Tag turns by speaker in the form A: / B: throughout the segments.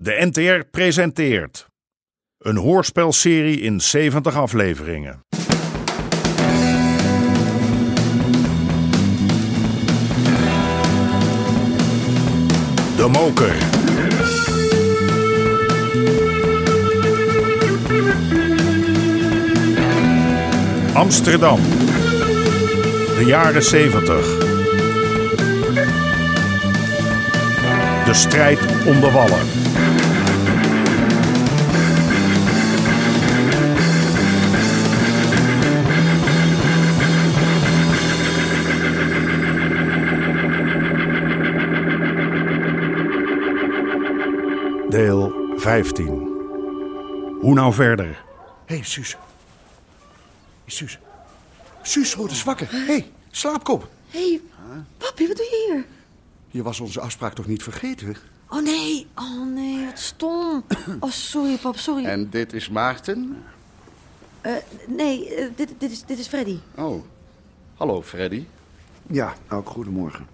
A: De NTR presenteert een hoorspelserie in 70 afleveringen. De Moker. Amsterdam. De jaren 70. De strijd om de wallen. Deel 15. Hoe nou verder?
B: Hé, hey, Suus. Suus. Suus, wordt eens wakker. Hé, hey, slaapkop.
C: Hé, hey, papi, wat doe je hier?
B: Je was onze afspraak toch niet vergeten?
C: Oh nee, oh nee, wat stom. Oh, sorry, pap, sorry.
D: En dit is Maarten.
C: Eh, nee, eh, dit, dit, is, dit is Freddy.
D: Oh, hallo Freddy.
B: Ja, ook goedemorgen.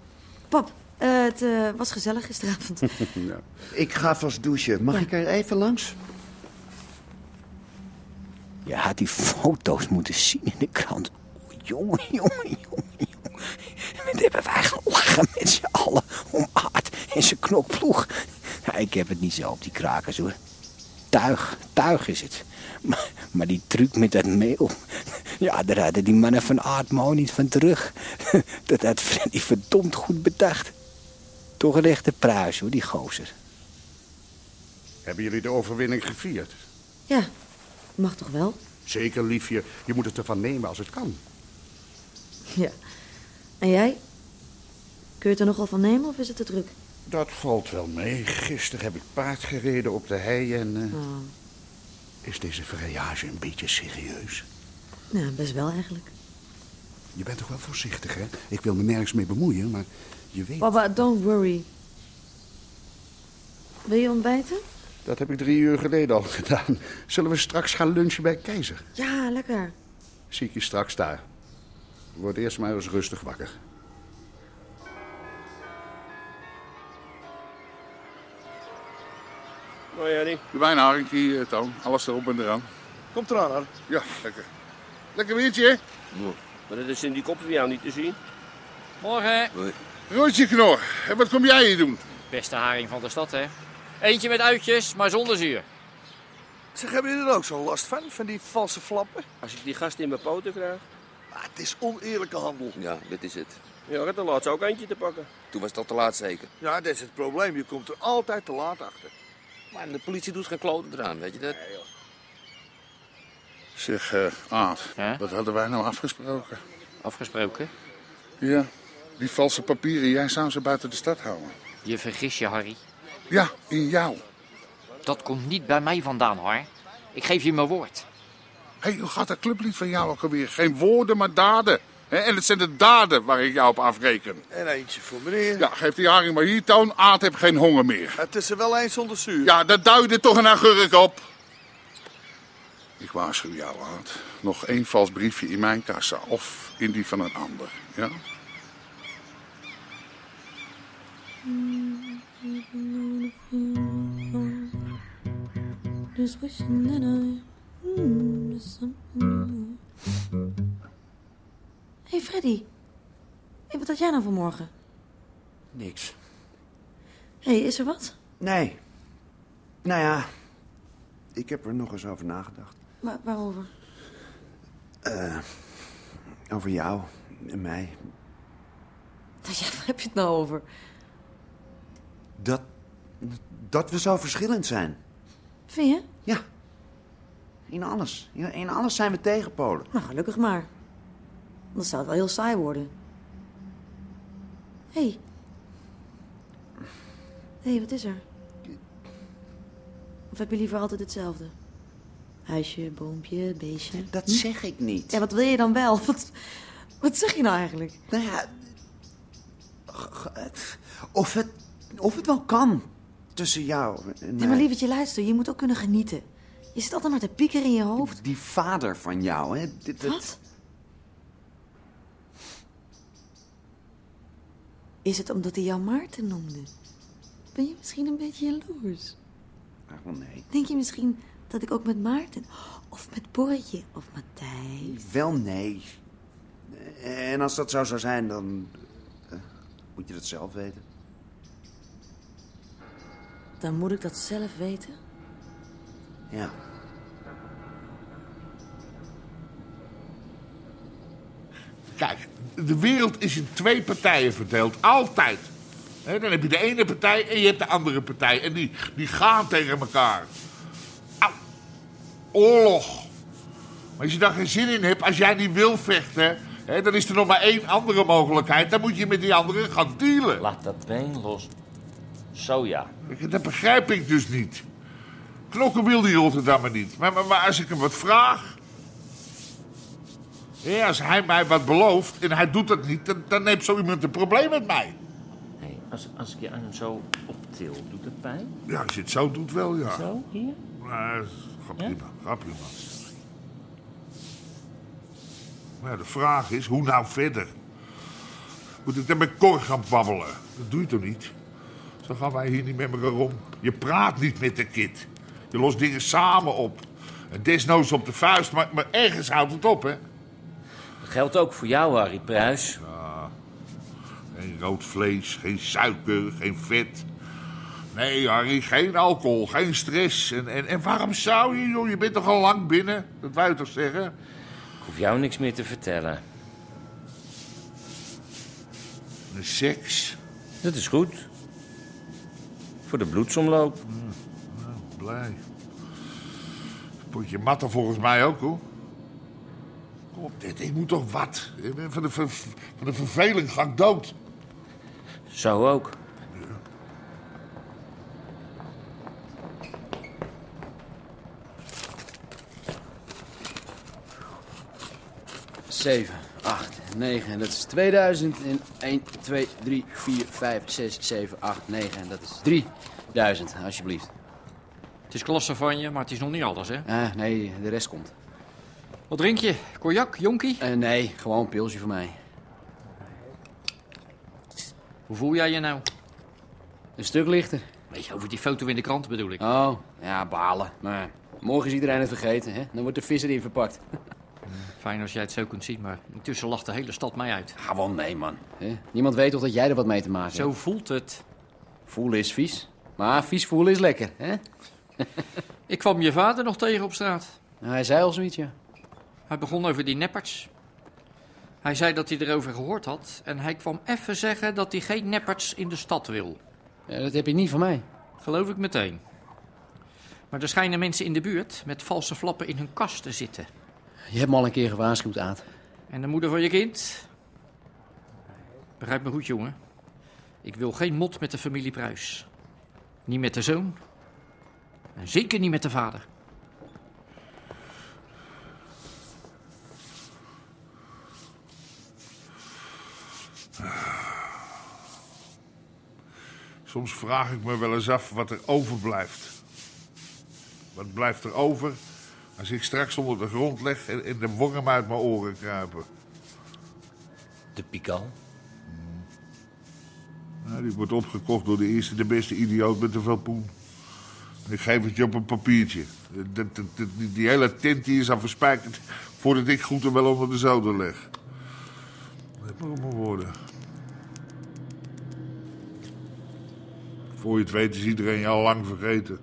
C: Pap, eh, het eh, was gezellig gisteravond.
D: Ja.
E: Ik ga vast douchen. Mag ik er even langs?
F: Je had die foto's moeten zien in de krant. Jongen, jongen, jongen, jongen. Wat hebben wij gelachen met z'n allen om Aard en zijn knokploeg. Nou, ik heb het niet zo op die krakers hoor. Tuig, tuig is het. Maar, maar die truc met dat meel. Ja, daar hadden die mannen van Aard Mo niet van terug. Dat had Freddy verdomd goed bedacht. Toch een echte pruis hoor, die gozer.
D: Hebben jullie de overwinning gevierd?
C: Ja, mag toch wel?
D: Zeker, liefje. Je moet het ervan nemen als het kan.
C: Ja. En jij? Kun je het er nogal van nemen of is het te druk?
D: Dat valt wel mee. Gisteren heb ik paard gereden op de hei en... eh,
C: Oh,
D: Is deze vrijage een beetje serieus?
C: ja, Nou, best wel eigenlijk.
D: Je bent toch wel voorzichtig, hè? Ik wil me nergens mee bemoeien, maar je weet...
C: Papa, don't worry. Wil je ontbijten?
D: Dat heb ik drie uur geleden al gedaan. Zullen we straks gaan lunchen bij Keizer?
C: Ja, lekker.
D: Zie ik je straks daar. Word eerst maar eens rustig wakker.
G: Hoi Henny.
H: De wijnharingkie, eh, Toon. Alles erop en eraan.
G: Komt eraan, hoor.
H: Ja, lekker. Lekker biertje.
G: Maar dat is in die kop van jou niet te zien.
I: Morgen,
H: Roodje knor. En wat kom jij hier doen?
I: beste haring van de stad, hè? Eentje met uitjes, maar zonder zuur.
J: Zeg, hebben jullie er ook zo'n last van, van die valse flappen?
G: Als ik die gast in mijn poten krijg.
J: Ah, het is oneerlijke handel.
K: Ja, dit is het.
G: Ja, ik had er laatst ook eentje te pakken.
K: Toen was dat te laat zeker.
J: Ja, dat is het probleem. Je komt er altijd te laat achter.
K: Maar de politie doet geen kloten eraan, weet je dat?
H: Zeg, eh Aad.
I: Ja?
H: Wat hadden wij nou afgesproken?
I: Afgesproken.
H: Ja. Die valse papieren, jij zou ze buiten de stad houden.
I: Je vergis je, Harry.
H: Ja, in jou.
I: Dat komt niet bij mij vandaan, hoor. Ik geef je mijn woord.
H: Hé, hoe gaat dat clublied van jou ook alweer? Geen woorden, maar daden. Hè, en het zijn de daden waar ik jou op afreken.
J: En eentje voor meneer.
H: Ja, geef die haring maar hier, Toon. Aad heeft geen honger meer.
J: Het is er wel eens zonder zuur.
H: Ja, dat duidde toch een agurk op. Ik waarschuw jou, Aad. Nog één vals briefje in mijn kassa of in die van een ander. Ja?
C: hmm, Hé, hey, Freddy. Hey, wat had jij nou vanmorgen?
E: Niks.
C: Hé, hey, is er wat?
E: Nee. Nou ja, ik heb er nog eens over nagedacht.
C: Wa- waarover?
E: Over jou en mij.
C: Nou Ja, waar heb je het nou over?
E: Dat, dat we zo verschillend zijn.
C: Vind je?
E: Ja. In alles. In, in alles zijn we tegenpolen.
C: Nou, gelukkig maar. Anders zou het wel heel saai worden. Hé. Hey. Hé, hey, wat is er? Of heb je liever altijd hetzelfde? Huisje, boompje, beestje.
E: Dat zeg ik niet.
C: Hm? Ja, wat wil je dan wel? Wat, wat zeg je nou eigenlijk?
E: Nou ja... g- g- Of het, of het wel kan. Tussen jou en
C: Nee,
E: mij.
C: maar lievertje, luister. Je moet ook kunnen genieten. Je zit altijd maar te piekeren in je hoofd.
E: Die vader van jou, hè? Dit, dit-
C: Wat? Is het omdat hij jou Maarten noemde? Ben je misschien een beetje jaloers?
E: Ah,
K: Ach, wel nee.
C: Denk je misschien dat ik ook met Maarten of met Borretje of Matthijs...
E: Wel nee. En als dat zo zou zijn, dan eh, moet je dat zelf weten.
C: Dan moet ik dat zelf weten.
E: Ja.
L: Kijk, de wereld is in twee partijen verdeeld. Altijd. Hè, dan heb je de ene partij en je hebt de andere partij. En die, die gaan tegen elkaar. Au. Oorlog. Maar als je daar geen zin in hebt, als jij niet wil vechten... Hè, dan is er nog maar één andere mogelijkheid. Dan moet je met die andere gaan dealen. Laat dat been los. Zo ja. Dat begrijp ik dus niet. Knokken wil die Rotterdammer niet. Maar, maar, maar als ik hem wat vraag... Ja, als hij mij wat belooft en hij doet dat niet, dan, dan heeft zo iemand een probleem met mij.
M: Hey, als, als ik je arm zo optil, doet het pijn?
L: Ja, als je het zo doet wel, ja.
M: Zo, hier?
L: Maar, ga prima, ga prima. Maar ja, de vraag is, hoe nou verder? Moet ik dan met Cor gaan babbelen? Dat doe je toch niet? Zo gaan wij hier niet met elkaar om. Je praat niet met de kid. Je lost dingen samen op. En desnoods op de vuist, maar, maar ergens houdt het op, hè?
M: Dat geldt ook voor jou, Harry Pruis.
L: Ja. Geen rood vlees, geen suiker, geen vet. Nee, Harry, geen alcohol, geen stress. En, en, en waarom zou je, joh? Je bent toch al lang binnen? Dat wou je toch zeggen?
M: Ik hoef jou niks meer te vertellen.
L: De seks?
M: Dat is goed. Voor de bloedsomloop.
L: Blij. Potje matten volgens mij ook, hoor. Kom op, dit, ik moet toch wat? Ik ben Van de, ver- van de verveling ga ik dood.
M: Zo ook.
N: Zeven, acht, negen. En dat is 2000. En 1, 2, 3, 4, 5, 6, 7, 8, 9. En dat is 3000, alsjeblieft.
I: Het is klasse van je, maar het is nog niet alles, hè?
N: Ah, nee, de rest komt. Eh,
I: Wat drink je? Cognac, jonkie?
N: nee, gewoon een pilsje voor mij.
I: Hoe voel jij je nou?
N: Een stuk lichter.
I: Weet je, over die foto in de krant bedoel ik.
N: Oh, ja, balen. Maar morgen is iedereen het vergeten, hè? Dan wordt de vis erin verpakt.
I: Fijn als jij het zo kunt zien, maar intussen lacht de hele stad mij uit.
N: Ah, wel nee, man. Hè? Niemand weet toch dat jij er wat mee te maken hebt?
I: Zo voelt het.
N: Voelen is vies. Maar vies voelen is lekker, hè?
I: Ik kwam je vader nog tegen op straat.
N: Nou, hij zei al zoiets, ja.
I: Hij begon over die nepperts. Hij zei dat hij erover gehoord had en hij kwam even zeggen dat hij geen nepperts in de stad wil.
N: Ja, dat heb je niet van mij.
I: Geloof ik meteen. Maar er schijnen mensen in de buurt met valse flappen in hun kast te zitten.
N: Je hebt me al een keer gewaarschuwd, Aad.
I: En de moeder van je kind? Begrijp me goed, jongen. Ik wil geen mot met de familie Pruis. Niet met de zoon. En zeker niet met de vader.
L: Soms vraag ik me wel eens af wat er overblijft. Wat blijft er over als ik straks onder de grond leg en, en de worm uit mijn oren kruipen?
M: De pikal?
L: Nou, die wordt opgekocht door de eerste, de beste idioot met te veel poen. Ik geef het je op een papiertje. Dat- dat- dat- die, die hele tint die is al verspijkerd voordat ik goed en wel onder de zoden leg. Dat moet maar worden. Voor je het weet is iedereen je al lang vergeten.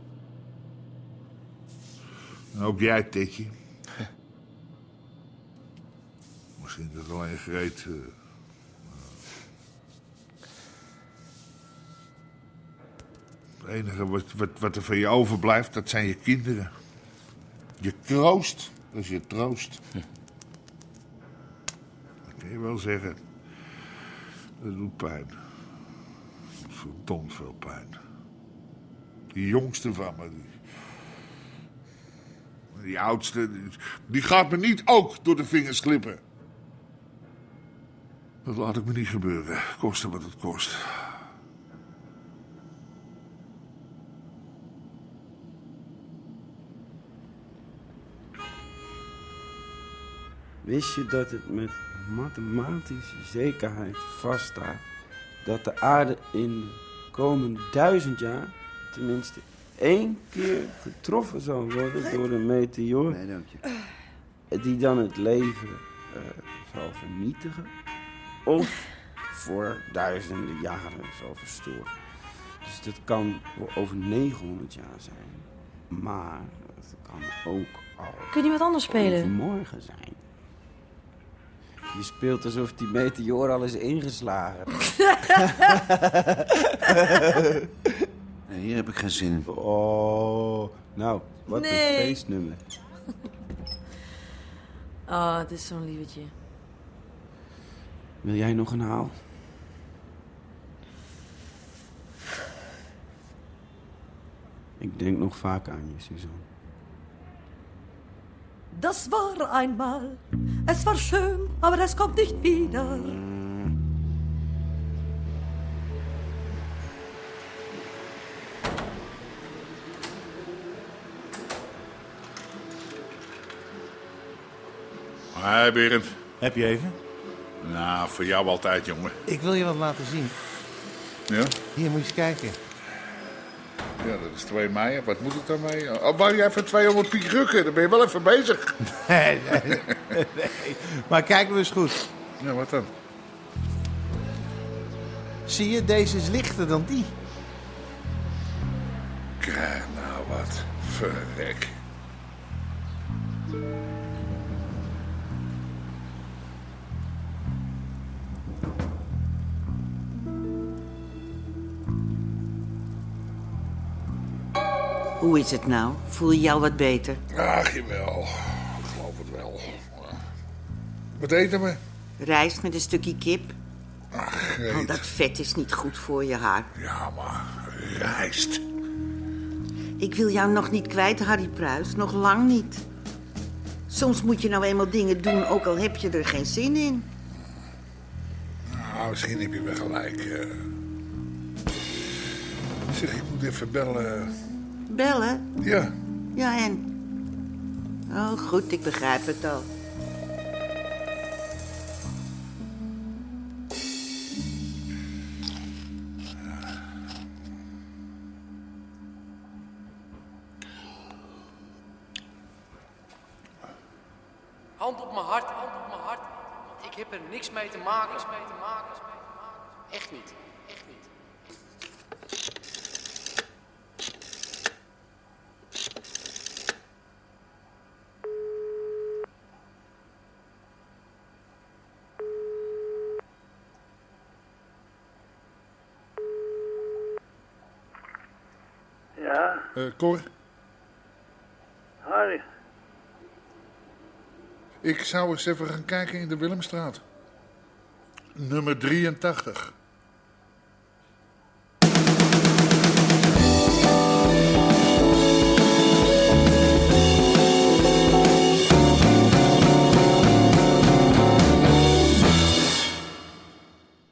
L: En ook jij, Tikje. Misschien dat alleen Greet... eh, Het enige wat, wat, wat er van je overblijft, dat zijn je kinderen. Je kroost, dat is je troost. Dat kun je wel zeggen. Dat doet pijn. Dat doet verdomd veel pijn. Die jongste van me, die, die oudste, die, die gaat me niet ook door de vingers glippen. Dat laat ik me niet gebeuren, koste wat het kost.
O: Wist je dat het met mathematische zekerheid vaststaat dat de aarde in de komende duizend jaar tenminste
F: één keer getroffen zou worden door een meteoor. Nee, dank je. Die dan het leven eh, zal vernietigen. Of voor duizenden jaren zal verstoren. Dus dat kan wel over 900 jaar zijn. Maar het kan ook al
M: Kun je wat anders spelen?
F: overmorgen zijn. Je speelt alsof die meteoor al is ingeslagen.
P: Nee, hier heb ik geen zin in.
F: Oh, nou, wat
M: Nee.
F: een feestnummer.
C: Ah,
M: Oh, het is zo'n lievertje.
F: Wil jij nog een haal? Ik denk nog vaak aan je, Suzanne.
C: Das war einmal. Es war schön, aber es kommt nicht wieder.
L: Hé, Berend.
Q: Heb je even?
L: Nou, voor jou altijd, jongen.
H: Ik wil je wat laten zien.
L: Ja?
H: Hier moet je eens kijken.
L: Ja, dat is 2 mei. Wat moet het daarmee? Oh, wou jij voor 200 piek rukken? Dan ben je wel even bezig.
H: Nee, nee, nee. Maar kijk maar eens goed.
L: Ja, wat dan?
H: Zie je, deze is lichter dan die.
L: Kijk nou wat. Verrek.
R: Hoe is het nou? Voel je jou wat beter?
L: Ach, jawel. Ik geloof het wel. Wat eten we?
R: Rijst met een stukje kip.
L: Ach,
R: Al dat vet is niet goed voor je haar.
L: Ja, maar rijst.
R: Ik wil jou nog niet kwijt, Harry Pruis. Nog lang niet. Soms moet je nou eenmaal dingen doen, ook al heb je er geen zin in.
L: Nou, misschien heb je wel gelijk. eh. Zeg, ik moet even bellen.
R: Bellen?
L: Ja.
R: Ja, en? Oh, goed, ik begrijp het al.
S: Hand op mijn hart, hand op mijn hart. Ik heb er niks mee te maken. Niks mee te maken. Echt niet. Echt niet.
T: Ja,
L: Eh Cor,
T: Harry.
L: ik zou eens even gaan kijken in de Willemstraat. Nummer 83.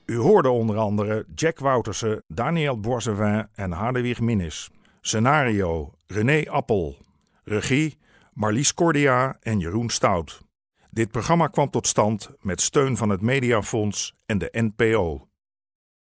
A: U hoorde onder andere Jack Woutersen, Daniel Boisevin en Hadewig Minnis. Scenario René Appel. Regie Marlies Cordia en Jeroen Stout. Dit programma kwam tot stand met steun van het Mediafonds en de NPO.